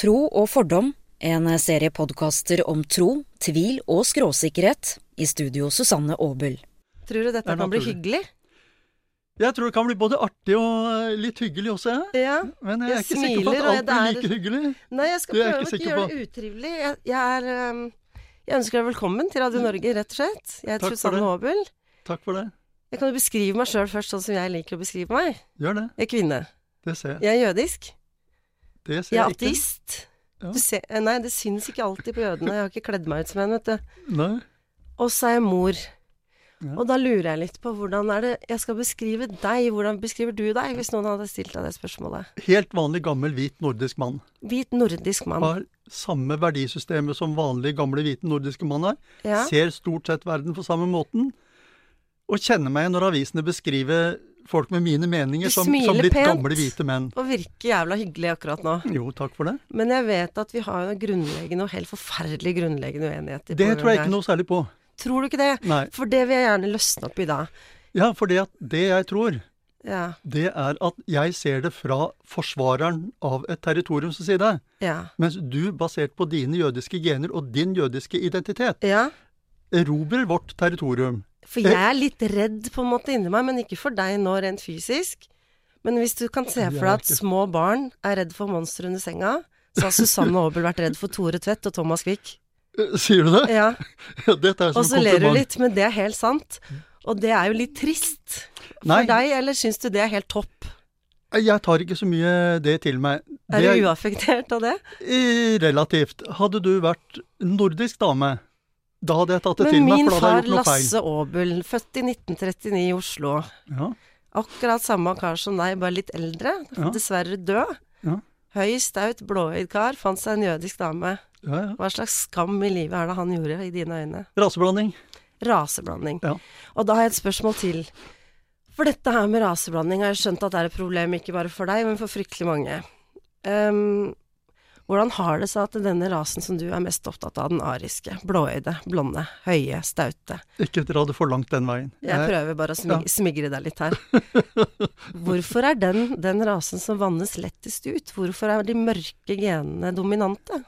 Tro og fordom, en serie podkaster om tro, tvil og skråsikkerhet. I studio Susanne Aabel. Tror du dette Det er kan bli naturlig. hyggelig? Jeg tror det kan bli både artig og eh, litt hyggelig også, jeg. Ja. Men jeg er Jeg ikke sikker på smiler, at og det alt blir er- like hyggelig. Nei, jeg skal Du er prøve å ikke ikke sikker gjøre på- det utrivelig. Jeg, jeg er ehm, Jeg ønsker deg velkommen til Radio Norge, rett og slett. Jeg Mm. Takk heter for Susanne det. Aabel. Takk for det. Jeg kan jo beskrive meg sjøl først, sånn som jeg liker å beskrive meg. Gjør det. Jeg er kvinne. Det ser jeg. Jeg er jødisk. Det ser Jeg er jeg ikke. ateist. Ja. Du ser, eh, nei, det syns ikke alltid på jødene. Jeg har ikke kledd meg ut som en, vet du. Nei. Og så er jeg mor. Ja. Og da lurer jeg litt på hvordan er det jeg skal beskrive deg. Hvordan beskriver du deg, hvis noen hadde stilt deg det spørsmålet? Helt vanlig gammel hvit nordisk mann. Hvit nordisk mann. Har samme verdisystemet som vanlig gamle hvite nordiske mann har. Ja. Ser stort sett verden på samme måten. Og kjenner meg når avisene beskriver folk med mine meninger Du som, smiler som litt pent. gamle hvite menn. Og virker jævla hyggelig akkurat nå. Jo, takk for det. Men jeg vet at vi har jo noen grunnleggende og helt forferdelig grunnleggende uenigheter. Det tror jeg ikke noe særlig på. Tror du ikke det? Nei. For det vil jeg gjerne løsne opp i da. Ja, for det, at det jeg tror, Ja. det er at jeg ser det fra forsvareren av et territorium som sier det. Ja. Mens du, basert på dine jødiske gener og din jødiske identitet, ja. erobrer vårt territorium. For jeg er litt redd på en måte inni meg, men ikke for deg nå rent fysisk. Men hvis du kan se Jeg for deg at merker- små barn er redd for monstre under senga, så har Susanne Aabel vært redd for Tore Tvedt og Thomas Quick. Eh, Sier du det? Ja. Ja, Dette er som Og en så ler du kompliment. litt, men det er helt sant. Og det er jo litt trist for Nei. deg, eller syns du det er helt topp? Jeg tar ikke så mye det til meg. Er det du uaffektert av det? eh, relativt. Hadde du vært nordisk dame, da hadde jeg tatt det Men til meg, min for da hadde far jeg gjort noe feil. Lasse Aabel, født i 1939 i Oslo. Ja, Akkurat samme kar som deg, bare litt eldre. Ja. Dessverre død. Ja. Høy, staut, blåøyd kar. Fant seg en jødisk dame. ja, ja. Hva slags skam i livet er det han gjorde, i dine øyne? Raseblanding. Raseblanding. Ja. Og da har jeg et spørsmål til. For dette her med raseblanding har jeg skjønt at det er et problem ikke bare for deg, men for fryktelig mange. Ehm, hvordan har det seg at denne rasen som du er mest opptatt av, den ariske, blåøyde, blonde, høye, staute, Ikke dra det for langt den veien. jeg Jeg- prøver bare å smig smigre deg litt her. Hvorfor er den, den rasen som vannes lettest ut, hvorfor er de mørke genene dominante?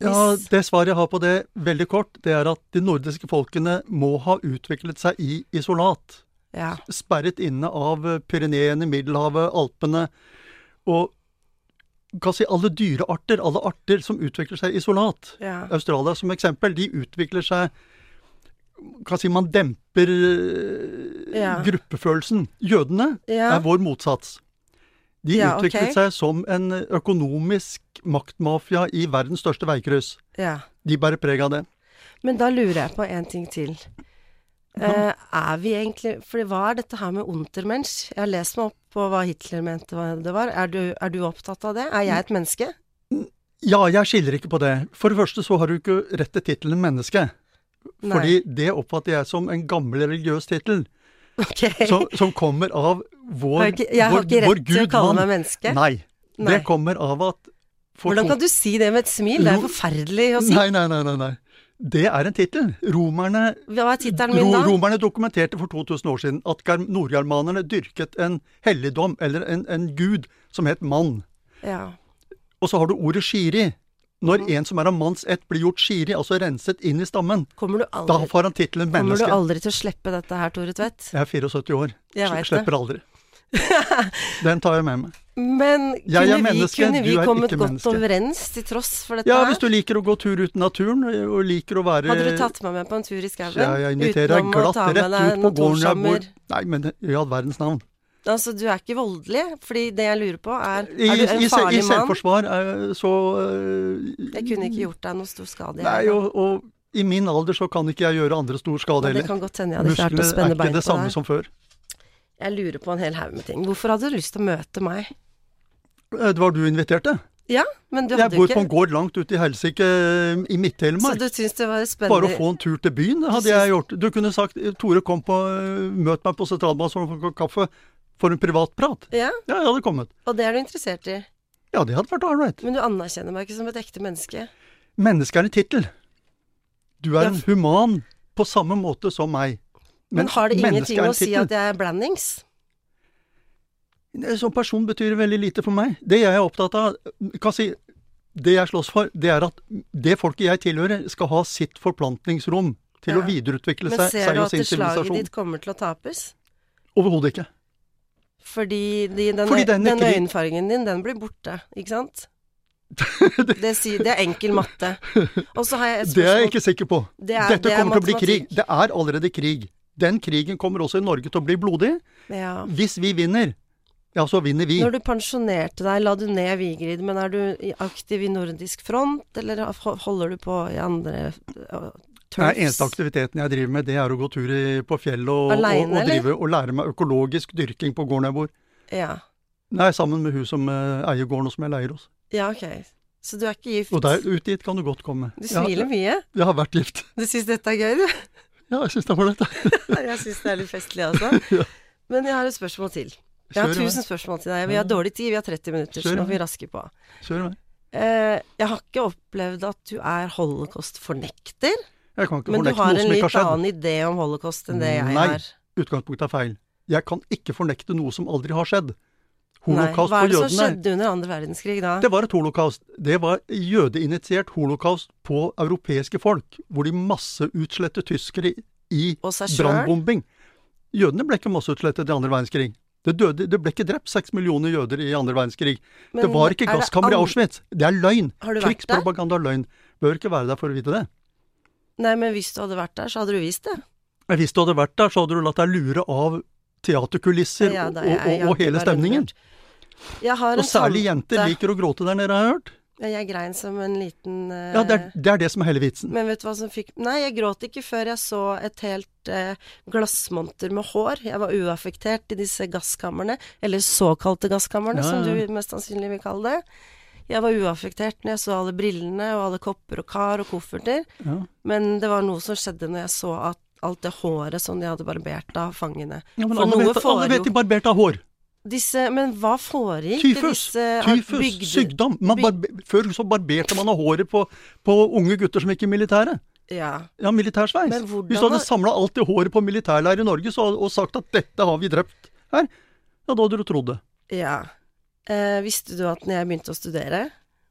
Ja, Hvis- det svaret jeg har på det, veldig kort, det er at de nordiske folkene må ha utviklet seg i isolat. Ja. Sperret inne av Pyreneene, Middelhavet, Alpene og kan si alle dyrearter, alle arter som utvikler seg i isolat. ja. Australia som eksempel, de utvikler seg kan si Man demper eh, Ja. gruppefølelsen. Jødene Ja. er vår motsats. De Ja, ok. utviklet seg som en økonomisk maktmafia i verdens største veikryss. ja. De bærer preg av det. Men da lurer jeg på en ting til. Eh, er vi egentlig For hva er dette her med untermensch? Jeg har lest meg opp på hva Hitler mente hva det var. Er du, er du opptatt av det? Er jeg et menneske? Ja, jeg skiller ikke på det. For det første så har du ikke rett til tittelen menneske. Nei. Fordi det oppfatter jeg som en gammel religiøs tittel, Ok. som, som kommer av jeg vår har ikke, jeg har vår- ikke vår rett til å Gud, kalle mann. meg menneske. Nei. Nei. Det kommer av at for Hvordan kan du si det med et smil? Det er Jo. forferdelig å si. Nei, nei, nei, nei, nei. Det er en tittel. Romerne, Hva er tittelen min ro, da? romerne dokumenterte for 2000 år siden at gar- nordgermanerne dyrket en helligdom, eller en, en gud, som het mann. Ja. Og så har du ordet shiri. Når en som er av manns ett, blir gjort shiri, altså renset inn i stammen, Kommer du da aldri, får han tittelen kommer du menneske. aldri til å slippe dette her, Tore Tvedt? Jeg er 74 år. Jeg Sl- vet det. Slipper aldri. Den tar jeg med meg. Men Jeg er kunne vi, menneske, kunne vi du er kommet ikke godt menneske. overens til tross for dette? Ja, her? hvis du liker å gå tur uten naturen, og liker å være Hadde du tatt meg med på en tur i skauen? Ja, jeg inviterer utenom deg å glatt ta med deg rett ut på noen gården jeg bor. Torshammer? Nei, men i all verdens navn. Altså, du er ikke voldelig? Fordi det jeg lurer på, er I, Er du i, en se- farlig I mann? selvforsvar eh, så eh, Jeg kunne ikke gjort deg noe stor skade. jeg, Nei, da. og, og i min alder så kan ikke jeg gjøre andre stor skade Men det heller. kan godt hende jeg hadde klart Musklene å er spenne ikke bein på det samme deg. som før. Jeg lurer på en hel haug med ting. Hvorfor hadde du lyst til å møte meg? Eh, Det var du inviterte. Ja, men du Jeg hadde jo bor på en ikke gård langt ute i helsike eh, i Så Midt-Telemark. du syns det var Bare å spennende få en tur til byen det hadde jeg gjort. Du kunne sagt Tore, kom på eh, Møt meg på sentralbanen for en kaffe for en privat prat. Ja, Ja, jeg hadde kommet. og det er du interessert i. Ja, det hadde vært ålreit. Men du anerkjenner meg ikke som et ekte menneske. Menneske er en tittel. Du er Ja. en human på samme måte som meg. Men, har det menneske ingenting er en å si tittel. at jeg er blandings? sånn Som person betyr det veldig lite for meg. Det jeg er opptatt av, kan si det jeg slåss for, det er at det folket jeg tilhører, skal ha sitt forplantningsrom til Ja. å videreutvikle Men seg, ser seg du og at sin det slaget sivilisasjon. ditt kommer til å tapes? Overhodet ikke. Fordi, de, den, Fordi den den, ikke de- øyenfargen din, den blir borte, ikke sant? Det, sier, det er enkel matte. Og så har jeg et Det er jeg spørsmål ikke sikker på. Det er- Dette det er kommer til å bli matematikk. krig. Det er allerede krig. Den krigen kommer også i Norge til å bli blodig. ja. Hvis vi vinner, ja, så vinner vi. Når du pensjonerte deg, la du ned Vigrid, men er du i- aktiv i nordisk front, eller ho- holder du på i andre uh, Nei, turfs? eneste aktiviteten jeg driver med, det er å gå tur i, på fjellet og, Alene, og, og, eller? drive, og lære meg økologisk dyrking på gården jeg bor. Ja. Nei, sammen med hun som eh, eier gården og som jeg leier hos. ja, ok. Så du er ikke gift? Og der, ut dit kan du godt komme. Du Jeg har- smiler mye. Jeg har vært gift. Du syns dette er gøy, du? Ja, jeg syns det er ålreit. Jeg syns det er litt festlig, altså. Men jeg har et spørsmål til. Jeg har Kjør i vei. tusen spørsmål til deg. Vi har dårlig tid, vi har 30 minutter, så Kjør i nå må vei. vi raske på. Kjør med. Eh, jeg har ikke opplevd at du er holocaust-fornekter, Jeg kan ikke men du fornekte har noe en som ikke litt har skjedd. annen idé om holocaust enn det jeg Nei. har. Utgangspunktet er feil. Jeg kan ikke fornekte noe som aldri har skjedd. Nei. Holocaust Hva er for det som jødene skjedde under andre verdenskrig da? Det var et holocaust. Det var jødeinitiert holocaust på europeiske folk, hvor de masseutslettet tyskere i Og seg sjøl? brannbombing. Jødene ble ikke masseutslettet i andre verdenskrig. Det, døde, det ble ikke drept seks millioner jøder i andre verdenskrig. det Men var ikke er det gasskammer i an- Auschwitz. Det er løgn. Har du vært der? Krigspropaganda er løgn. Bør ikke være der for å vite det. Nei, men hvis du hadde vært der, så hadde du vist det. Men Hvis du hadde vært der, så hadde du latt deg lure av teaterkulisser Ja, da, og, jeg- jeg og, har og ikke hele vært stemningen. rundlurt. Jeg har en Og særlig jenter tante- liker å gråte der nede, har jeg hørt. Ja, Jeg grein som en liten eh, Ja, det er det, er det som er hele vitsen. Men vet du hva som fikk Nei, jeg gråt ikke før jeg så et helt eh, glassmonter med hår. Jeg var uaffektert i disse gasskamrene, eller såkalte gasskamrene, Ja, som ja. du mest sannsynlig vil kalle det. Jeg var uaffektert når jeg så alle brillene og alle kopper og kar og kofferter, Ja. men det var noe som skjedde når jeg så at alt det håret som de hadde barbert av fangene. Ja, men For alle noe vet, foregår- alle vet de barberte av hår. Disse, men hva foregikk i Tyfus, disse tyfus, bygde- sykdom. Man barbe før så barberte man av håret på, på unge gutter som gikk i militæret. Ja. Ja, militærsveis. Men hvordan Hvis du hadde har- samla alt det håret på militærleir i Norge så, og sagt at 'dette har vi drept her', ja, da hadde du trodd det. Ja. Eh, visste du at når jeg begynte å studere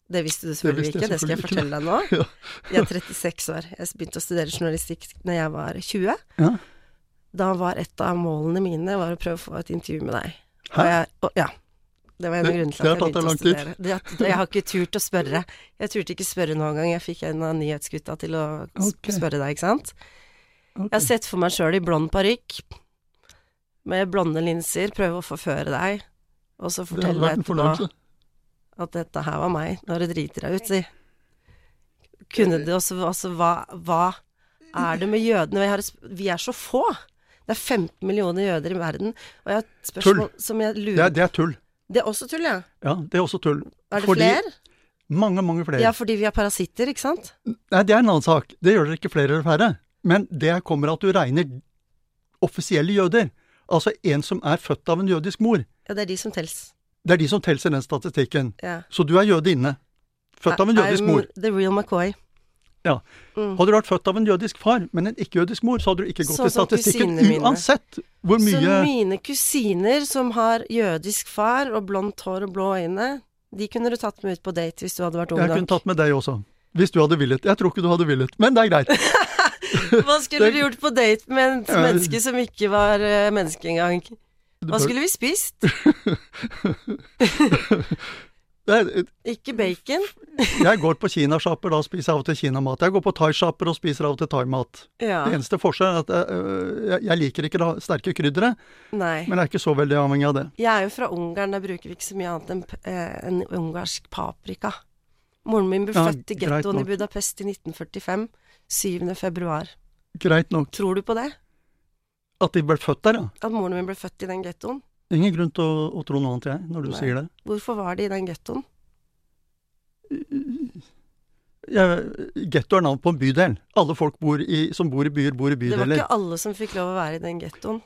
Det visste du selvfølgelig visste jeg ikke, det skal jeg selvfølgelig fortelle deg nå. Ja. Jeg er 36 år. Jeg begynte å studere journalistikk når jeg var 20. Ja. Da var et av målene mine var å prøve å få et intervju med deg. Og Hæ? jeg, og, ja. Det var en av Det- grunnene til det har at jeg tatt deg begynte å lang tid. studere. Det, at- jeg har ikke turt å spørre. Jeg turte ikke spørre noen gang. Jeg fikk en av nyhetsgutta til å s- Ok. spørre deg, ikke sant. Ok. Jeg har sett for meg sjøl i blond parykk, med blonde linser, prøve å forføre deg, og så Det hadde fortelle vært deg en etterpå fornøyelse. at dette her var meg, når du driter deg ut, si. Kunne du også Altså, hva, hva er det med jødene? Og jeg har, et sp- vi er så få. Det er 15 millioner jøder i verden, og jeg har et spørsmål som jeg Det er, lurer det er tull. Det er også tull, ja. Ja, det er også tull. Er det Fordi- flere? Mange, mange flere. Ja, fordi vi er parasitter, ikke sant? Nei, det er en annen sak. Det gjør dere ikke flere eller færre. Men det kommer at du regner offisielle jøder. Altså en som er født av en jødisk mor. Ja, det er de som tels. Det er de som teller i den statistikken. Ja. Så du er jøde inne. Født av en jødisk I'm mor. The real McCoy. Ja. Hadde du vært født av en jødisk far, men en ikke-jødisk mor, så hadde du ikke gått Sånn i som statistikken kusinene mine. uansett hvor Så mye mine kusiner som har jødisk far og blondt hår og blå øyne, de kunne du tatt med ut på date hvis du hadde vært ung Jeg nok. kunne tatt med deg også. Hvis du hadde villet. Jeg tror ikke du hadde villet, men det er greit. Hva skulle Det- du gjort på date med et Ja. menneske som ikke var eh, menneske engang? Hva skulle vi spist? Det er, Ikke bacon. jeg går på kinasjapper, da spiser jeg av og til kinamat. Jeg går på thaisjapper og spiser av og til thaimat. Ja. Det eneste forskjellen er at jeg, øh, jeg- jeg liker ikke da sterke kryddere, Nei. men jeg er ikke så veldig avhengig av det. Jeg er jo fra Ungarn, der bruker vi ikke så mye annet enn p- eh, enn ungarsk paprika. Moren min ble Ja, født i greit gettoen i nok. Budapest i 1945. 7. februar. Greit nok Tror du på det? at de ble født der, ja. At moren min ble født i den gettoen? Ingen grunn til å, å tro noe annet, jeg, når du Nei. sier det. Hvorfor var de i den gettoen? Jeg- Getto er navn på en bydel. Alle folk bor i, som bor i byer, bor i Det var bydeler. ikke alle som fikk lov å være i den gettoen.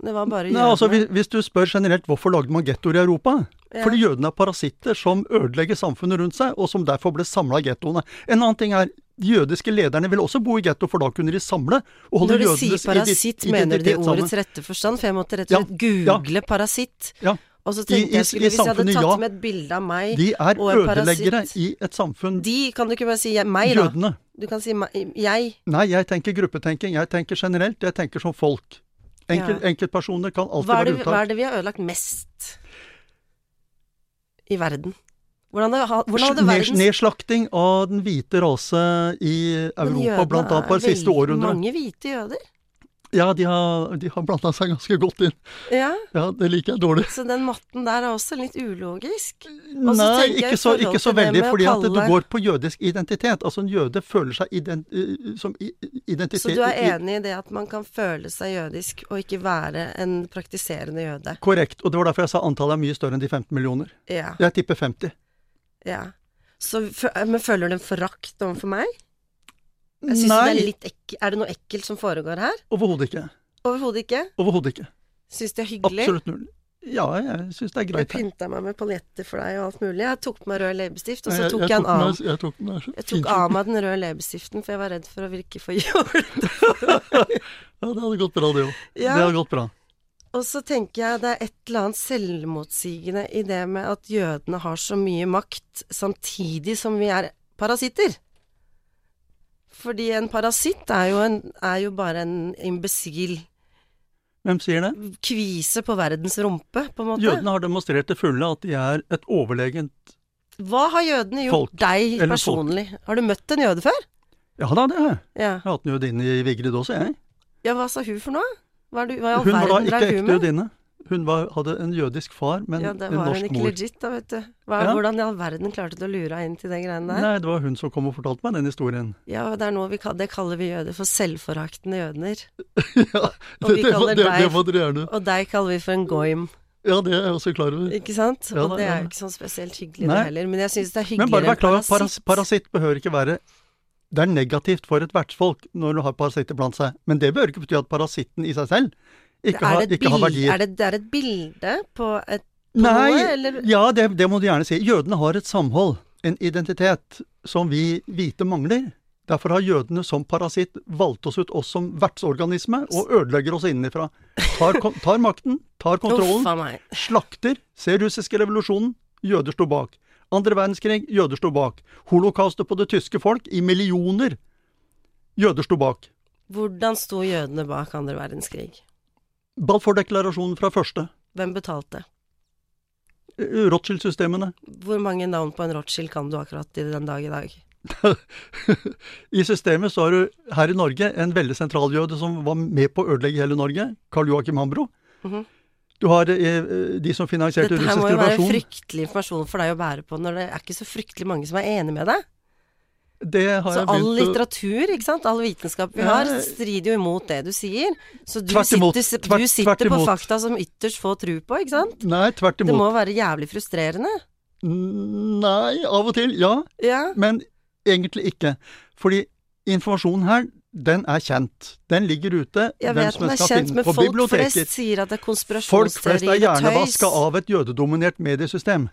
Det var bare Nei, altså, jødene. hvis, hvis du spør generelt hvorfor lagde man gettoer i Europa? Ja. Fordi jødene er parasitter som ødelegger samfunnet rundt seg, og som derfor ble samla i gettoene. En annen ting er de jødiske lederne ville også bo i getto, for da kunne de samle og Når holde du sier jødenes parasitt, ident- mener du det i identitet sammen. ordets rette forstand? For jeg måtte rett og Ja, slett google parasitt. Ja. Og så I- i- tenkte jeg i skulle, hvis jeg hadde samfunnet, tatt ja. med et bilde av meg De er og en ødeleggere parasitt. i et samfunn. De, kan du ikke bare si jeg, meg, da? Jødene. Du kan si meg, jeg. Nei, jeg tenker gruppetenking. Jeg tenker generelt. Jeg tenker som folk. Enkel, Ja. Enkeltpersoner kan alltid Hva er, være det, vi- hva unntak. er det vi har ødelagt mest i verden? Hvordan, hadde- hvordan hadde Ned- verden Nedslakting av den hvite rase i Men Europa, jødene blant annet på er det siste veldig århundret. Mange hvite jøder. Ja, de har, de har blanda seg ganske godt inn. Ja, Ja, det liker jeg dårlig. så den matten der er også litt ulogisk. Og så Nei, tenker jeg i ikke så, forhold ikke så til det veldig, med å fordi at det kalle- går på jødisk identitet. Altså, en jøde føler seg ident, eh, som i- identitet Så du er i- enig i det at man kan føle seg jødisk og ikke være en praktiserende jøde? Korrekt. Og det var derfor jeg sa antallet er mye større enn de 15 millioner. Ja. Jeg tipper 50. ja. Så, fø- men føler du en forakt overfor meg? Jeg synes det er Nei, litt ekk Er det noe ekkelt som foregår her? overhodet ikke. Overhodet ikke. Overhodet ikke. Syns det er hyggelig. Absolutt null. Ja, jeg syns det er Jeg greit. her. pynta meg med paljetter for deg og alt mulig. Jeg tok på meg rød leppestift, og så Jeg- tok jeg, en den her- annen. Jeg tok den her. Jeg tok av meg den røde leppestiften, for jeg var redd for å virke for jålete. Ja, det hadde gått bra, det òg. Ja. Det hadde gått bra. Og så tenker jeg det er et eller annet selvmotsigende i det med at jødene har så mye makt, samtidig som vi er parasitter. Fordi en parasitt er jo, en, er jo bare en imbesil Hvem sier det? kvise på verdens rumpe, på en måte. Jødene har demonstrert til fulle at de er et overlegent Hva har jødene gjort Folk, deg eller folk. personlig? Har du møtt en jøde før? Ja da, det har jeg. Ja. Jeg har hatt en jødinne i Vigrid også, jeg. ja, hva sa hun for noe? Hva, er du, hva i all Hun var da verden ikke drev hun ekte med? jødinne. Hun var, hadde en jødisk far, men Ja, det en var hun norsk ikke mor. legit, da, vet du. Hva, Ja. Hvordan i all verden klarte du å lure deg inn til de greiene der? Nei, det var hun som kom og fortalte meg den historien. Ja, det er noe vi kal- det kaller vi jøder for selvforaktende jødner. ja, Og vi kaller deg- dere gjerne Og deg kaller vi for en goim, Ja, det er jeg også klar over. ikke sant? Ja, og da, det ja, er da. jo ikke sånn spesielt hyggelig det Nei. heller, men jeg syns det er Men hyggeligere bare vær enn klar over at paras parasitt. parasitt behøver ikke være Det er negativt for et vertsfolk når du har parasitter blant seg, men det behøver ikke bety at parasitten i seg selv ikke, er, har, det et ikke har bil- verdier. er, det, det er et bilde på et på noe, Nei, eller ja, det, det må du gjerne si. Jødene har et samhold, en identitet, som vi hvite mangler. Derfor har jødene som parasitt valgt oss ut, oss som vertsorganisme, og ødelegger oss innenfra. Tar, kon- tar makten, tar kontrollen, Uff a meg. Slakter. Se russiske revolusjonen. Jøder sto bak. Andre verdenskrig. Jøder sto bak. Holocaustet på det tyske folk i millioner. Jøder sto bak. Hvordan sto jødene bak andre verdenskrig? Balfour-deklarasjonen fra første. Hvem betalte? Eh, Rothschild-systemene. Hvor mange navn på en Rothschild kan du akkurat i den dag i dag? I systemet så har du her i Norge en veldig sentral jøde som var med på å ødelegge hele Norge. Karl Joakim Hambro. Mhm. Du har eh, de som finansierte Dette her russisk må jo være revolusjon. fryktelig informasjon for deg å bære på når det er ikke så fryktelig mange som er enig med deg. Det har Så jeg all begynt å- litteratur, ikke sant, all vitenskap vi Ja, har, jeg- strider jo imot det du sier. Så du Tvert imot, sitter, tvert- du sitter tvert på imot. fakta som ytterst få tror på, ikke sant? Nei, tvert Det imot. må være jævlig frustrerende. Nei, av og til, ja. Ja. men egentlig ikke. Fordi informasjonen her, den er kjent. Den ligger ute. Jeg hvem vet som den er helst kan kjent, finne men den på folk biblioteker. flest sier at det er Folk flest er konspirasjonsteorier og tøys. hjernevaska av et jødedominert mediesystem.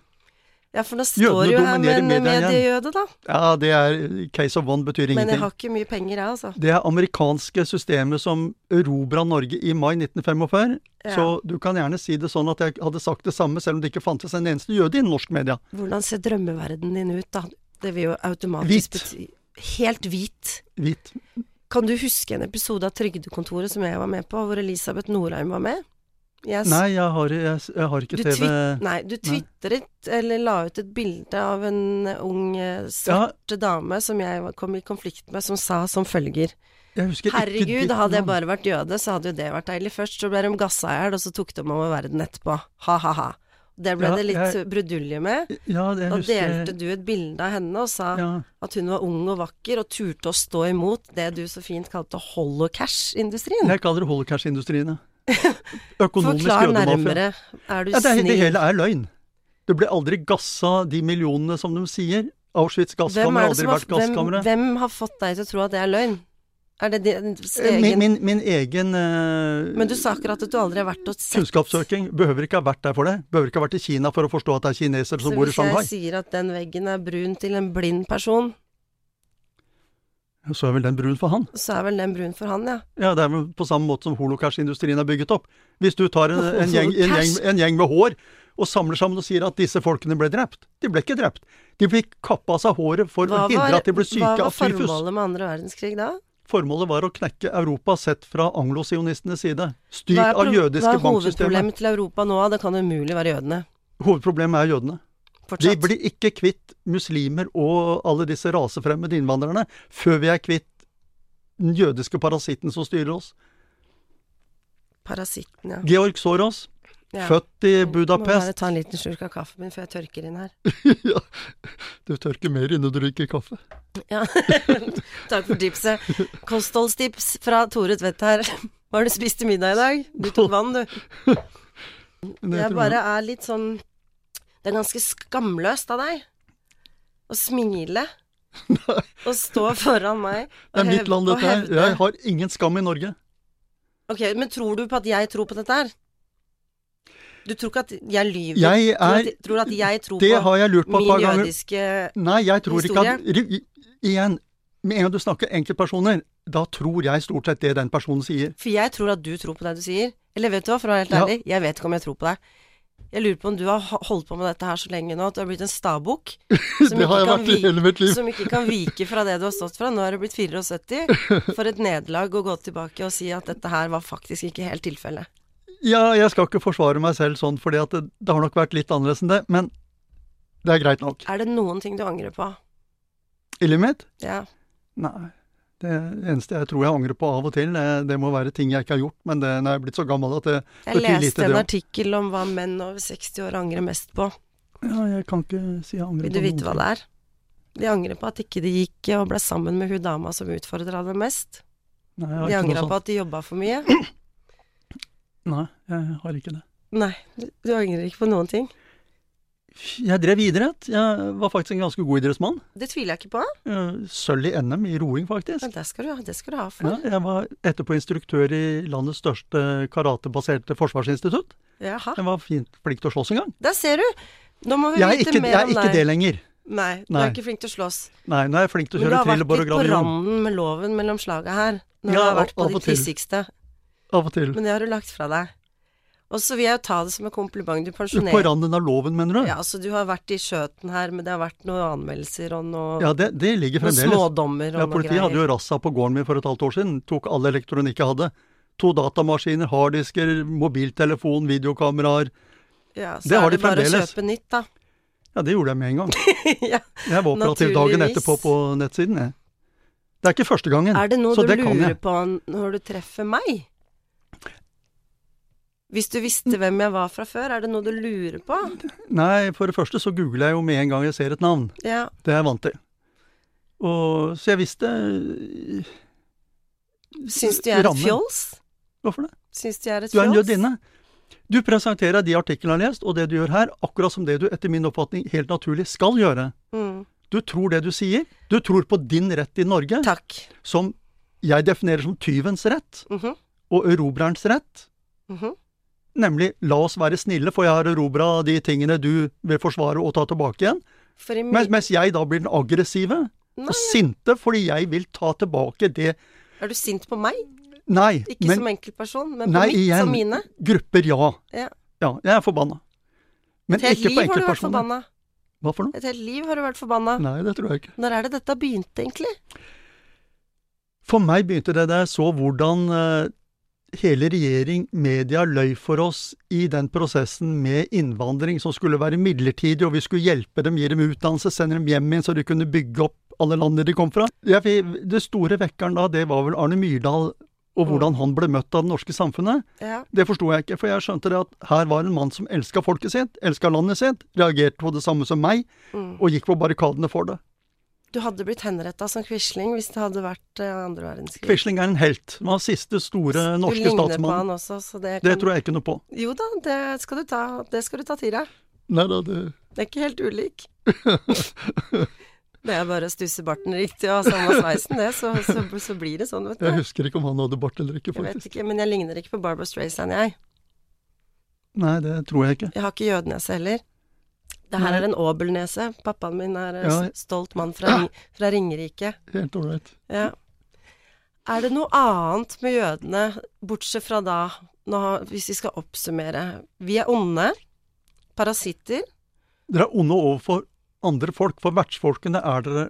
Ja, for nå Jødene står jo her med dominerer en media igjen. mediejøde, da. Ja, det er case of one Men betyr jeg ingenting. har ikke mye penger, jeg, altså. Det er amerikanske systemet som erobra Norge i mai 1945. Ja. Så du kan gjerne si det sånn at jeg hadde sagt det samme, selv om det ikke fantes en eneste jøde innen norsk media. Hvordan ser drømmeverdenen din ut, da? Det vil jo automatisk Hvit. bety Helt hvit. Hvit. Kan du huske en episode av Trygdekontoret som jeg var med på, hvor Elisabeth Norheim var med? Jeg Nei, jeg har, jeg, jeg har ikke Du TV twitt- Nei, du twitret eller la ut et bilde av en eh, ung eh, ja, svart dame som jeg var- kom i konflikt med, som sa som følger jeg husker ikke Herregud, ditt hadde jeg navn. bare vært jøde, så hadde jo det vært deilig. Først så ble de gassa i hjel, og så tok de over verden etterpå. Ha-ha-ha. Det ble Ja, det litt jeg- brudulje med. Ja, jeg Da husker delte du et bilde av henne og sa ja. at hun var ung og vakker og turte å stå imot det du så fint kalte holocash-industrien. Jeg kaller det holocaust-industriene. Økonomisk Forklar jødemafia. nærmere. Er du Ja, det, er- det snill? hele er løgn. Det ble aldri gassa de millionene som de sier. Auschwitz Hvem, gasskammer er har det som aldri har, vært gasskamre. hvem, hvem har fått deg til å tro at det er løgn? Er det din Eh, Min, egen min, min egen eh, Men du sa akkurat at du aldri har vært og sett kunnskapssøking behøver ikke ha vært der for det. Behøver ikke ha vært i Kina for å forstå at det er kinesere Så som bor i hvis jeg Shanghai. sier at den veggen er brun til en blind person, Så er vel den brun for han. så er vel den brun for han, ja. Ja, Det er vel på samme måte som holocaust-industrien er bygget opp. Hvis du tar en, en, gjeng, en, gjeng, Holocaust? en gjeng med hår og samler sammen og sier at disse folkene ble drept. De ble ikke drept. De fikk kappa av seg håret for å hindre at de ble syke hva var av tyfus. formålet med andre verdenskrig da? Formålet var å knekke Europa sett fra anglosionistenes side, Hva er, styrt av pro- hva jødiske er banksystemer. hovedproblemet til Europa nå? Det kan umulig være jødene. Hovedproblemet er jødene. De Fortsatt. blir ikke kvitt muslimer og alle disse rasefremmede innvandrerne før vi er kvitt den jødiske parasitten som styrer oss. Parasitten, ja. Georg Soros, ja. født i Må bare Budapest ta en liten slurk av kaffen min før jeg tørker inn her. ja, Du tørker mer inne du drikker kaffe. Ja. Takk for tipset. Kostholdstips fra Tore Tvedt her. Hva har du spist til middag i dag? Du tok vann, du. Men det Jeg tror bare er litt sånn Det er ganske skamløst av deg å smile og stå foran meg og Det er mitt hev- land, og dette her. hevde- Jeg har ingen skam i Norge. Ok, Men tror du på at jeg tror på dette her? Du tror ikke at jeg lyver? Jeg tror, er at, tror du at jeg tror Det på har jeg lurt på et min par ganger. jødiske Nei, jeg tror ikke at Ri- Igjen, med en gang du snakker enkeltpersoner, da tror jeg stort sett det den personen sier. For jeg tror at du tror på det du sier. Eller vet du hva, for å være helt Ja. ærlig, jeg vet ikke om jeg tror på deg. Jeg lurer på om du har ho- holdt på med dette her så lenge nå at du har blitt en stabukk som, Det ikke har jeg kan vært i vi- hele mitt liv. som ikke kan vike fra det du har stått fra. Nå er du blitt 74. For et nederlag å gå tilbake og si at dette her var faktisk ikke helt tilfellet. Ja, jeg skal ikke forsvare meg selv sånn, for det, det har nok vært litt annerledes enn det. Men det er greit nok. Er det noen ting du angrer på? I livet mitt? Ja. Nei. Det eneste jeg tror jeg angrer på av og til, det, det må være ting jeg ikke har gjort. Men det, når jeg er blitt så gammel at det, Jeg Betyr lite, leste en det artikkel om hva menn over 60 år angrer mest på. ja, jeg kan ikke si jeg angrer Vil på du vite noen hva det er? De angrer på at ikke de gikk og ble sammen med hun dama som utfordra dem mest. ting. Nei, De jeg har ikke angra noe på sånt. at de jobba for mye. Nei, jeg har ikke det. Nei, du, du angrer ikke på noen ting. Jeg drev idrett. Jeg var faktisk en ganske god idrettsmann. Det tviler jeg ikke på. Eh, Sølv i NM i roing, faktisk. Men det skal du, ha- det skal du ha Ja, for. jeg var etterpå instruktør i landets største karatebaserte forsvarsinstitutt. Jaha. Jeg var fint flink til å slåss en gang. Der ser du! Nå må vi Jeg er vite ikke, mer jeg er om ikke det deg. lenger. Nei, du Nei. er ikke flink til å slåss. Nei, nå er jeg flink til å Men du kjøre har vært trillebår og litt på gravion. randen med loven mellom slaga her. Når du Ja, har vært av på og ditt til. hissigste. Av og til. Men det har du lagt fra deg. Og så vil jeg jo ta det som en kompliment. Du På pensjonerer randen av loven, mener du? Ja, så du har vært i skjøten her, men det har vært noen anmeldelser og noe, Ja, det, det ligger noen fremdeles. smådommer og Ja, noe politiet greier. hadde jo rassa på gården min for et halvt år siden. Tok all elektronikk jeg hadde. To datamaskiner, harddisker, mobiltelefon, videokameraer. Ja, så Det har er de det bare å fremdeles. kjøpe nytt, da. Ja, det gjorde jeg med en gang. ja. Jeg var operativ dagen Naturligvis. etterpå på nettsiden, jeg. Det er ikke første gangen. Er det noe så du det kan lurer jeg. på når du treffer meg? Hvis du Mm. visste hvem jeg var fra før, er det noe du lurer på? Nei, for det første så googler jeg jo med en gang jeg ser et navn. Ja. Det er jeg vant til. Og, så jeg visste eh, Syns du jeg er Rammen. et fjols? Hvorfor det? Syns du jeg er et Du er en fjols? jødinne. Du presenterer de artiklene jeg har lest, og det du gjør her, akkurat som det du etter min oppfatning helt naturlig skal gjøre. Mm. Du tror det du sier. Du tror på din rett i Norge, Takk. som jeg definerer som tyvens rett Mhm, og erobrerens rett. mhm. Nemlig la oss være snille, for jeg har erobra de tingene du vil forsvare og ta tilbake igjen. For i Mens, min... mens jeg da blir den aggressive Mm. Nei, og sinte fordi jeg vil ta tilbake det er du sint på meg? Nei, Ikke men som enkeltperson, men på Nei, mitt igjen. som mine? grupper, ja. Ja. Ja, jeg er forbanna. Men Et helt ikke på liv har du vært enkeltpersoner. forbanna. Hva for noe? Et helt liv har du vært forbanna. Nei, det tror jeg ikke. Når er det dette begynte, egentlig? For meg begynte det da jeg så hvordan eh, hele regjering, media, løy for oss i den prosessen med innvandring som skulle være midlertidig, og vi skulle hjelpe dem, gi dem utdannelse, sende dem hjem igjen så de kunne bygge opp alle landene de kom fra. Jeg, fikk- det store vekkeren da, det var vel Arne Myrdal og hvordan han ble møtt av det norske samfunnet. Ja. Det forsto jeg ikke, for jeg skjønte det at her var en mann som elska folket sitt, elska landet sitt, reagerte på det samme som meg, Mm. og gikk på barrikadene for det. Du hadde blitt henretta som Quisling hvis det hadde vært eh, andre verdenskrig. Quisling er en helt. Han var siste store eh, norske Du ligner på statsmann. han også, så det kan Det tror jeg ikke noe på. Jo da, det skal du ta, det skal du ta til deg. Nei da, det Det er ikke helt ulik. det er bare å stusse barten riktig og ha samme sveisen, det, så, så, så blir det sånn, vet Jeg du. husker ikke om han hadde bart eller ikke, Jeg vet faktisk. ikke, men jeg ligner ikke på Barbara Streisand, jeg. Nei, det tror jeg ikke. Jeg har ikke jødenese heller. Det her Nei. er en åbelnese. Pappaen min er eh, Ja. s- stolt mann fra, Ring- fra Ringerike. Helt ålreit. Ja. Er det noe annet med jødene, bortsett fra da, nå, har- hvis vi skal oppsummere Vi er onde, Parasitter? Dere er onde overfor andre folk, for vertsfolkene er dere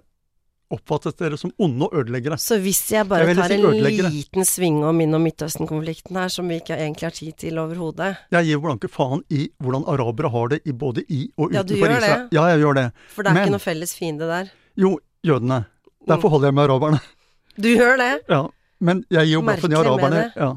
oppfattet dere som onde og ødeleggere. Så hvis jeg Jeg bare vil tar si en ødeleggere. liten sving om inn- og Midtøsten-konflikten her, som vi ikke egentlig har tid til overhodet Jeg gir blanke faen i hvordan arabere har det i både i og utenfor Ja, du gjør Israel. det. Ja, jeg gjør det. For det er Men- ikke noe felles fiende der. Jo, Mm. jødene. Derfor holder jeg med araberne. Du gjør det! Ja. Men jeg gir jo blaffen i Merkelig med araberne. det. Ja.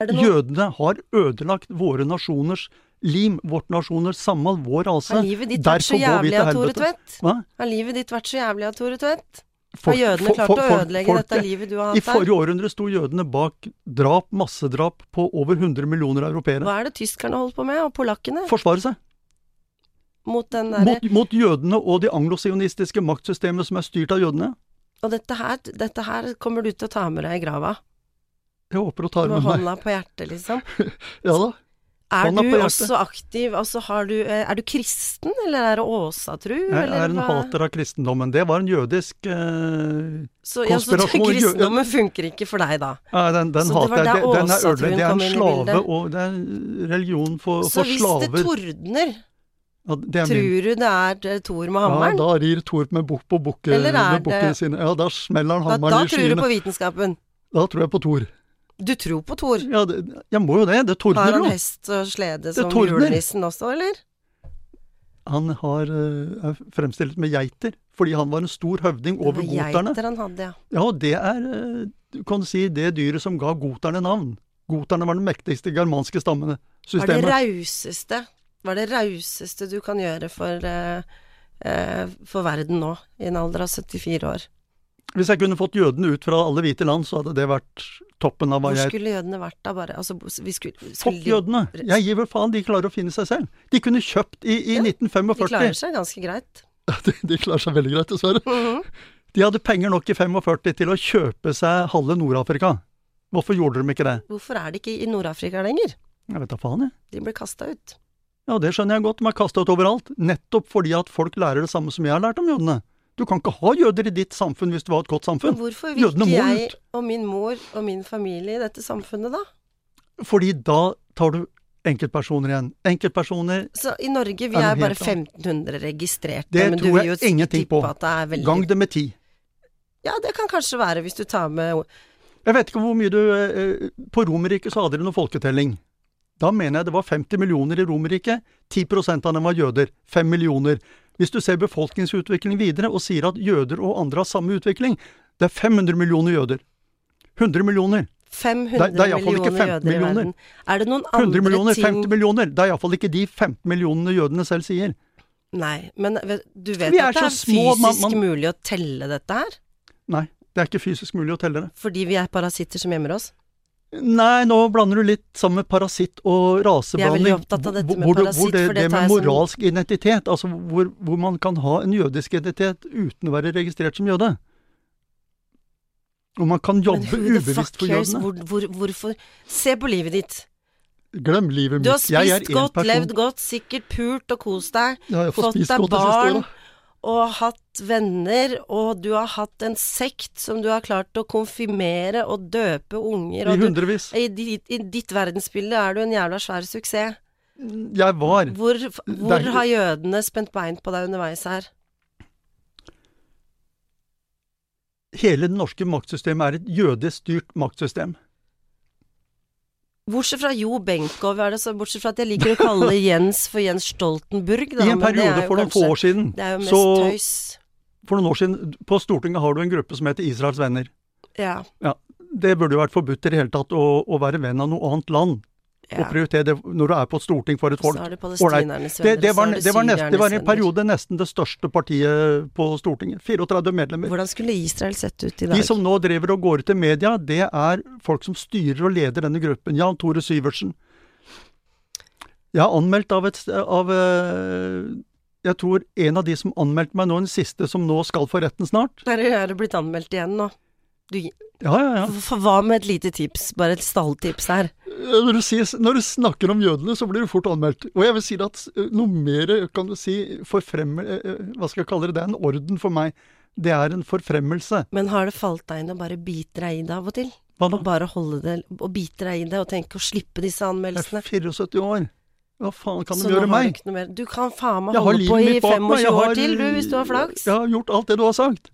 Er det noe Jødene har ødelagt våre nasjoners lim, vårt nasjoners samhold, vår rase. Har livet ditt vært så Derfor går vi jævlig til av Tore helvete. Tvedt? Hva? Har livet ditt vært så jævlig av Tore Tvedt? Har For- jødene for- klart for- å for- ødelegge folket- dette livet du har I hatt her? forrige århundre sto jødene bak drap, massedrap på over 100 millioner europeere. Hva er det tyskerne holdt på med, og polakkene, Forsvare seg mot den derre mot, mot jødene og de anglo-sionistiske maktsystemet som er styrt av jødene. Og dette her, dette her kommer du til å ta med deg i grava, Jeg håper du tar med med meg. hånda på hjertet, liksom. Ja da. Er Hånda du på hjertet. også aktiv, altså har du eh, Er du kristen, eller er det åsatru, Jeg eller er en hva? hater av kristendommen. Det var en jødisk eh, Så, ja, så konspirasjon- kristendommen funker ikke for deg, da. ja, Den, den Så det var hater jeg. der Det- Den er åsatroen ødelagt. Det er kom en inn i slave, bildet. og det er en religion for, Så for hvis slaver. det tordner, Ja, det er min. tror du det er eh, Thor med Ja, hammeren? da rir Tord med bukk på bukke, Eller er med bukkene det- sine. Ja, da smeller han da, da hammeren i tror du skyene. på vitenskapen. Da tror jeg på Tor. Du tror på Thor. Ja, det, jeg må jo det. Det Har tordner han jo. hest og slede som tordner. julenissen også, eller? Han har, eh, er fremstilt med geiter, fordi han var en stor høvding over Det var goterne. Geiter han hadde, ja. Ja, og det er, eh, du kan si, det dyret som ga goterne navn. Goterne var den mektigste germanske Hva er stammene. det Systemet. rauseste Hva er det rauseste du kan gjøre for, eh, eh, for verden nå, i en alder av 74 år? Hvis jeg kunne fått jødene ut fra alle hvite land, så hadde det vært toppen av hva Hvor jeg skulle jødene vært da, bare? Altså, vi skulle, skulle Fuck de, jødene! Jeg gir vel faen, de klarer å finne seg selv. De kunne kjøpt i, i Ja, de 1945. klarer seg ganske greit. De, de klarer seg veldig greit, dessverre. Mhm. De hadde penger nok i 45 til å kjøpe seg halve Nord-Afrika. Hvorfor gjorde de ikke det? Hvorfor er de ikke i Nord-Afrika lenger? Jeg vet da faen, jeg. De ble kasta ut. Ja, det skjønner jeg godt, de er kasta ut overalt. Nettopp fordi at folk lærer det samme som jeg har lært om jødene. Du kan ikke ha jøder i ditt samfunn hvis du har et godt Men samfunn. hvorfor vil Jødene ikke må jeg ut. og min mor og min familie i dette samfunnet, da? Fordi da tar du enkeltpersoner igjen. Enkeltpersoner Så i Norge, vi er Er noe bare helt annet. 1500 registrerte, Det men du tror vil jo jeg ingenting tippe på. at det er veldig gang det med ti. Ja, det kan kanskje være, hvis du tar med Jeg vet ikke hvor mye du eh, På Romerriket så hadde de noe folketelling. Da mener jeg det var 50 millioner i Romerriket. 10 av dem var jøder. 5 millioner. Hvis du ser befolkningsutviklingen videre og sier at jøder og andre har samme utvikling, det er 500 millioner jøder. 100 millioner. 500 Det- det er iallfall ikke millioner 15 jøder i verden. millioner. Er det noen 100 andre millioner, ting 50 millioner. Det er iallfall ikke de 15 millionene jødene selv sier. Nei, men vet- du vet Vi er at det så er små, man- fysisk man- mulig å telle dette her? Nei, det er ikke fysisk mulig å telle det. Fordi vi er parasitter som gjemmer oss? Nei, nå blander du litt sammen med parasitt og raseblanding. Jeg er veldig opptatt av dette med hvor, parasitt, Hvor det, for det det, tar jeg med som- moralsk identitet, altså hvor, hvor man kan ha en jødisk identitet uten å være registrert som jøde. Og man kan Men jobbe ubevisst for jødene. Hvor, hvor, hvorfor Se på livet ditt. Glem livet mitt. Du har Jeg er spist én godt, person. levd godt, sikkert pult og kost deg, Ja, jeg får fått spist deg godt det siste barn året. og hatt venner, og du har hatt en sekt som du har klart å konfirmere og døpe unger, I og du, hundrevis. i, ditt, i ditt verdensbilde er du en jævla svær suksess. Jeg var Hvor, hvor er- har jødene spent bein på deg underveis her? Hele det norske maktsystemet er et jødisk styrt maktsystem. Bortsett fra Jo Benkow, er det så, bortsett fra at jeg liker å kalle Jens for Jens Stoltenburg, da. I en men det er periode jo for noen få kanskje- år siden, Det er jo mest så tøys. for noen år siden, på Stortinget har du en gruppe som heter Israels venner. Ja, Ja, det burde jo vært forbudt i det hele tatt å, å være venn av noe annet land, ja. og prioritere det når du er på et storting for et Så folk. har du Ålreit. palestinernes venner, Det, det, var, så har du det, var nest, det var i en syrernes venner. periode nesten det største partiet på Stortinget. 34 medlemmer. Hvordan skulle Israel sett ut i dag? De som nå driver og går ut i media, det er folk som styrer og leder denne gruppen. Jan Tore Syversen. Jeg er anmeldt av et av, eh, Jeg tror en av de som anmeldte meg nå, den siste som nå skal for retten snart. Der er du blitt anmeldt igjen nå. Du, Ja, ja, ja. for, for hva med et lite tips, bare et stalltips her? Eh, Når du, sier, når du snakker om jødene, så blir du fort anmeldt. Og jeg vil si at eh, noe mer eh, kan du si forfremmer... eh, eh, Hva skal jeg kalle det? Det er en orden for meg. Det er en forfremmelse. Men har det falt deg inn å bare bite deg i det av og til? Hva Og da? bare holde det, og bite deg i det, og tenke å slippe disse Jeg anmeldelsene? er 74 år. Hva faen kan Så de nå gjøre har du meg? ikke noe mer. Du kan faen meg Jeg har holde på livet i mitt bak meg. 25 Jeg har, år til, du, hvis du har flaks. Jeg har gjort alt det du har sagt.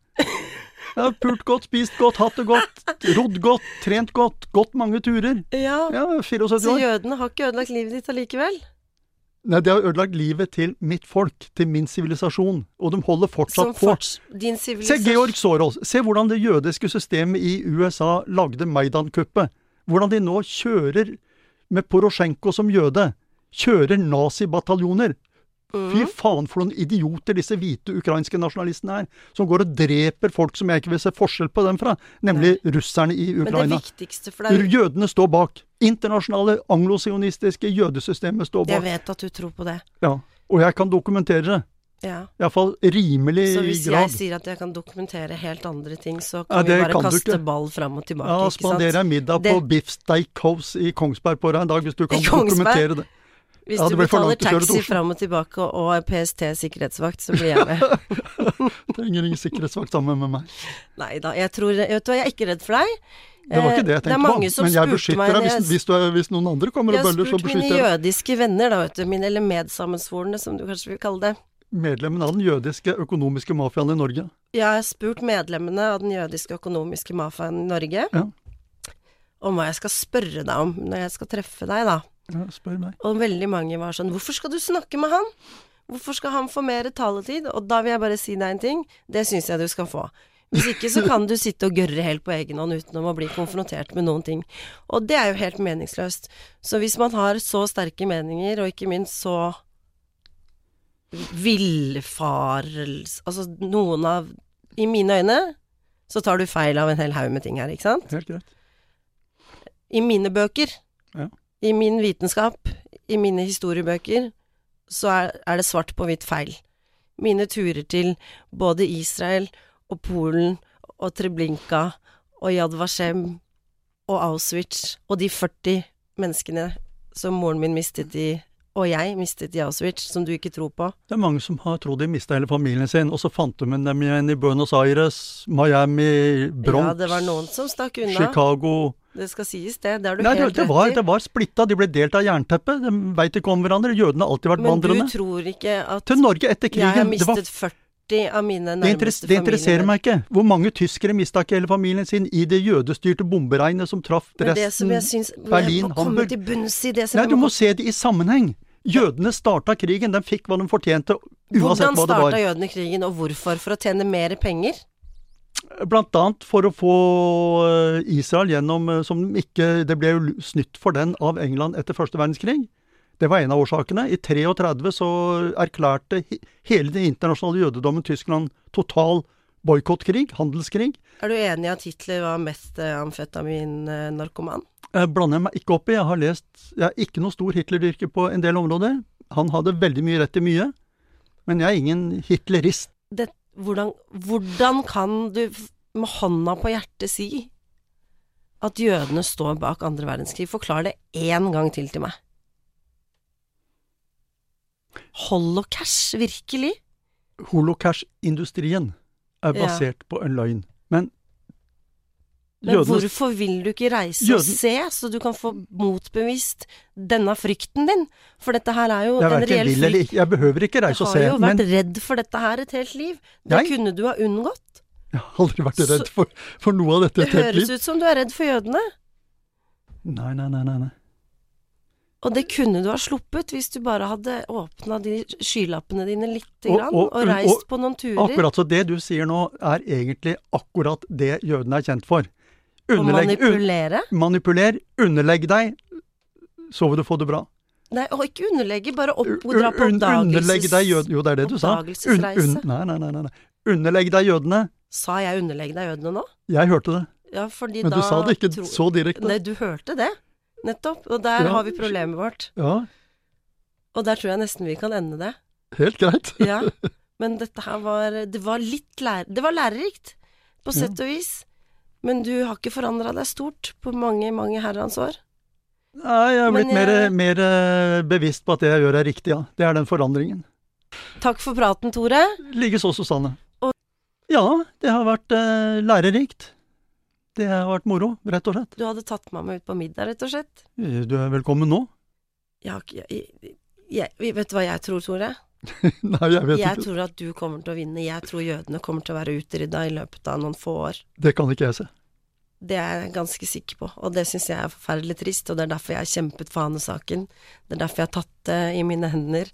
Jeg har pult godt, spist godt, hatt det godt, rodd godt, trent godt, gått mange turer. Ja. Ja, 74 Så år. jødene har ikke ødelagt livet ditt allikevel? Nei, det har ødelagt livet til mitt folk, til min sivilisasjon, og de holder Som fortsatt på. forts... Din Se sivilisasjon Georg Soros, se hvordan det jødiske systemet i USA lagde Maidan-kuppet. Hvordan de nå kjører med Porosjenko som jøde. Kjører nazibataljoner. Mm. Fy faen for noen idioter disse hvite ukrainske nasjonalistene er, som går og dreper folk som jeg ikke vil se forskjell på dem fra, nemlig russerne i Men det Ukraina. viktigste for deg Jødene står bak. Internasjonale anglosionistiske jødesystemet står Jeg bak. vet at du tror på det. Ja, og jeg kan dokumentere det. Ja. Iallfall rimelig Så hvis jeg grad. sier at jeg kan dokumentere helt andre ting, så Ja, kan det vi bare kan du kaste ikke. ball fram og tilbake, Ja, ikke spanderer sant? jeg middag på Det- Biff Steakhouse i Kongsberg på deg en dag, hvis du kan I Kongsberg? dokumentere det. Hvis Ja, du det blir for betaler langt å kjøre til taxi Oslo. fram og tilbake og er PST sikkerhetsvakt, så blir jeg med. Trenger ingen sikkerhetsvakt sammen med meg. Nei da, jeg tror Vet du hva, jeg er ikke redd for deg. Det Eh, var ikke det jeg er tenkte mange på, som men jeg spurte meg beskytter deg når hvis, jeg- hvis, du er, hvis noen andre kommer Jeg og har bøller, så spurt mine beskytter jeg jødiske venner, da, vet du. Mine eller medsammensvorne, som du kanskje vil kalle det. medlemmen av den jødiske økonomiske mafiaen i Norge. Jeg har spurt medlemmene av den jødiske økonomiske mafiaen i Norge Ja. om hva jeg skal spørre deg om når jeg skal treffe deg, da. Ja, spør meg. Og veldig mange var sånn Hvorfor skal du snakke med han? Hvorfor skal han få mer taletid? Og da vil jeg bare si deg en ting. Det syns jeg du skal få. Hvis ikke så kan du sitte og gørre helt på egen hånd utenom å bli konfrontert med noen ting. Og det er jo helt meningsløst. Så hvis man har så sterke meninger, og ikke minst så villfarelse Altså noen av I mine øyne så tar du feil av en hel haug med ting her, ikke sant? Helt greit. i mine bøker, Ja. i min vitenskap, i mine historiebøker, så er, er det svart på hvitt feil. Mine turer til både Israel og Polen og Treblinka og Yad Vashem og Auschwitz og de 40 menneskene som moren min mistet i og jeg mistet i Auschwitz, som du ikke tror på. Det er mange som har trodd de mista hele familien sin, og så fant de dem igjen i Buenos Aires, Miami, Bronx, ja, det var noen som stakk unna. Chicago Det skal sies, det. Det har du Nei, det, helt det, var, rett i. det var splitta, de ble delt av jernteppet. De veit ikke om hverandre. Jødene har alltid vært Men du vandrende. tror ikke at Til Norge etter krigen. Jeg har det var mistet 40 av mine Det, nærmeste interess det interesserer familier. meg ikke. Hvor mange tyskere mista ikke hele familien sin i det jødestyrte bomberegnet som traff Men det som Dresden? jeg syns Berlin, Jeg må komme Hamburg. til bunns i det som Nei, jeg du må se det i sammenheng. Jødene starta krigen, de fikk hva de fortjente, uansett Hvordan hva det var. starta jødene krigen, og hvorfor? For å tjene mer penger? Blant annet for å få eh, Israel gjennom eh, som de ikke Det ble jo l- snytt for den av England etter første verdenskrig. Det var en av årsakene. I 33 så erklærte he- hele den internasjonale jødedommen Tyskland total boikottkrig, handelskrig. Er du enig i at Hitler var mest eh, amfetaminnarkoman? Jeg blander jeg meg ikke opp i. Jeg har lest Jeg er ikke noe stor Hitler-dyrker på en del områder. Han hadde veldig mye rett i mye, men jeg er ingen hitlerist. Det- Hvordan, hvordan kan du f- med hånda på hjertet si at jødene står bak andre verdenskrig? Forklar det én gang til til meg. Holocaust, virkelig? Holocaust-industrien er Ja. basert på en løgn. Men, Men jødene hvorfor vil du ikke reise og Jøden- se, så du kan få motbevist denne frykten din? For dette her er jo Jeg en verken reell vil eller frykt. ikke Jeg behøver ikke Jeg reise og har se, jo vært men redd for dette her et helt liv. Det Jeg? kunne du ha unngått. jeg har aldri vært redd for, for noe av dette. Det i et helt høres liv. ut som du er redd for jødene, Nei, nei, nei, nei, nei. og det kunne du ha sluppet hvis du bare hadde åpna de skylappene dine lite Og- grann, og, og- og- reist på noen turer. Akkurat så det du sier nå, er egentlig akkurat det jødene er kjent for. Og Underlegg, un, manipulere. manipuler, underlegg deg, så vil du få det bra. Nei, og ikke underlegge, bare opp, Un- dra på un- Underlegg deg oppdagelses... jødene Jo, det er det du sa. Un, un, Oppdagelsesreise. nei, nei, nei, nei, nei. Underlegg deg jødene. Sa jeg underlegg deg jødene nå? Jeg hørte det, Ja, fordi men da du sa det ikke tror- så direkte. Nei, du hørte det. Nettopp. Og der Ja. har vi problemet vårt. Ja, Og der tror jeg nesten vi kan ende det. helt greit. Ja. Men dette her var Det var litt lær... Det var lærerikt, på Ja. sett og vis. Men du har ikke forandra deg stort på mange, mange herrens år. Nei, jeg er Men blitt mer, jeg- mer eh, bevisst på at det jeg gjør er riktig, ja. Det er den forandringen. Takk for praten, Tore. Likeså, Susanne. Og- Ja, det har vært eh, lærerikt. Det har vært moro, rett og slett. Eh, Du hadde tatt meg med ut på middag, rett og slett. Du er velkommen nå. Jeg har ikke jeg, jeg, jeg, Vet du hva jeg tror, Tore? Nei, jeg vet Jeg ikke. tror at du kommer til å vinne. Jeg tror jødene kommer til å være utrydda i løpet av noen få år. Det kan ikke jeg se. Det er jeg ganske sikker på, og det syns jeg er forferdelig trist, og det er derfor jeg har kjempet for Hane-saken. Det er derfor jeg har tatt det i mine hender.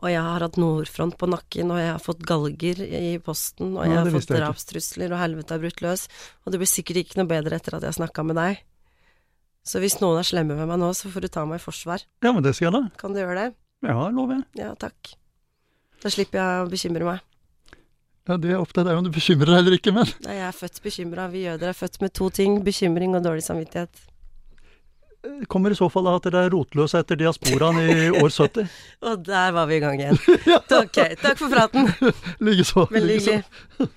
Og jeg har hatt Nordfront på nakken, og jeg har fått galger i posten, og Nei, jeg har det fått visste jeg ikke. drapstrusler, og helvete har brutt løs. Og det blir sikkert ikke noe bedre etter at jeg har snakka med deg. Så hvis noen er slemme med meg nå, så får du ta meg i forsvar. Ja, men det skal jeg da. Kan du gjøre det? Ja, lover jeg. Ja, takk. Da slipper jeg å bekymre meg. Ja, det er opp til deg om du bekymrer deg eller ikke, men Nei, jeg er født bekymra. Vi jøder er født med to ting, bekymring og dårlig samvittighet. eh, kommer i så fall av at dere er rotløse etter diasporaen i år 70. Og der var vi i gang igjen. Ok, takk for praten. Likeså. Veldig hyggelig.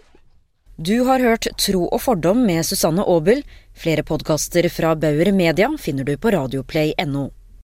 Du har hørt Tro og fordom med Susanne Aabel. Flere podkaster fra Bauer Media finner du på radioplay.no.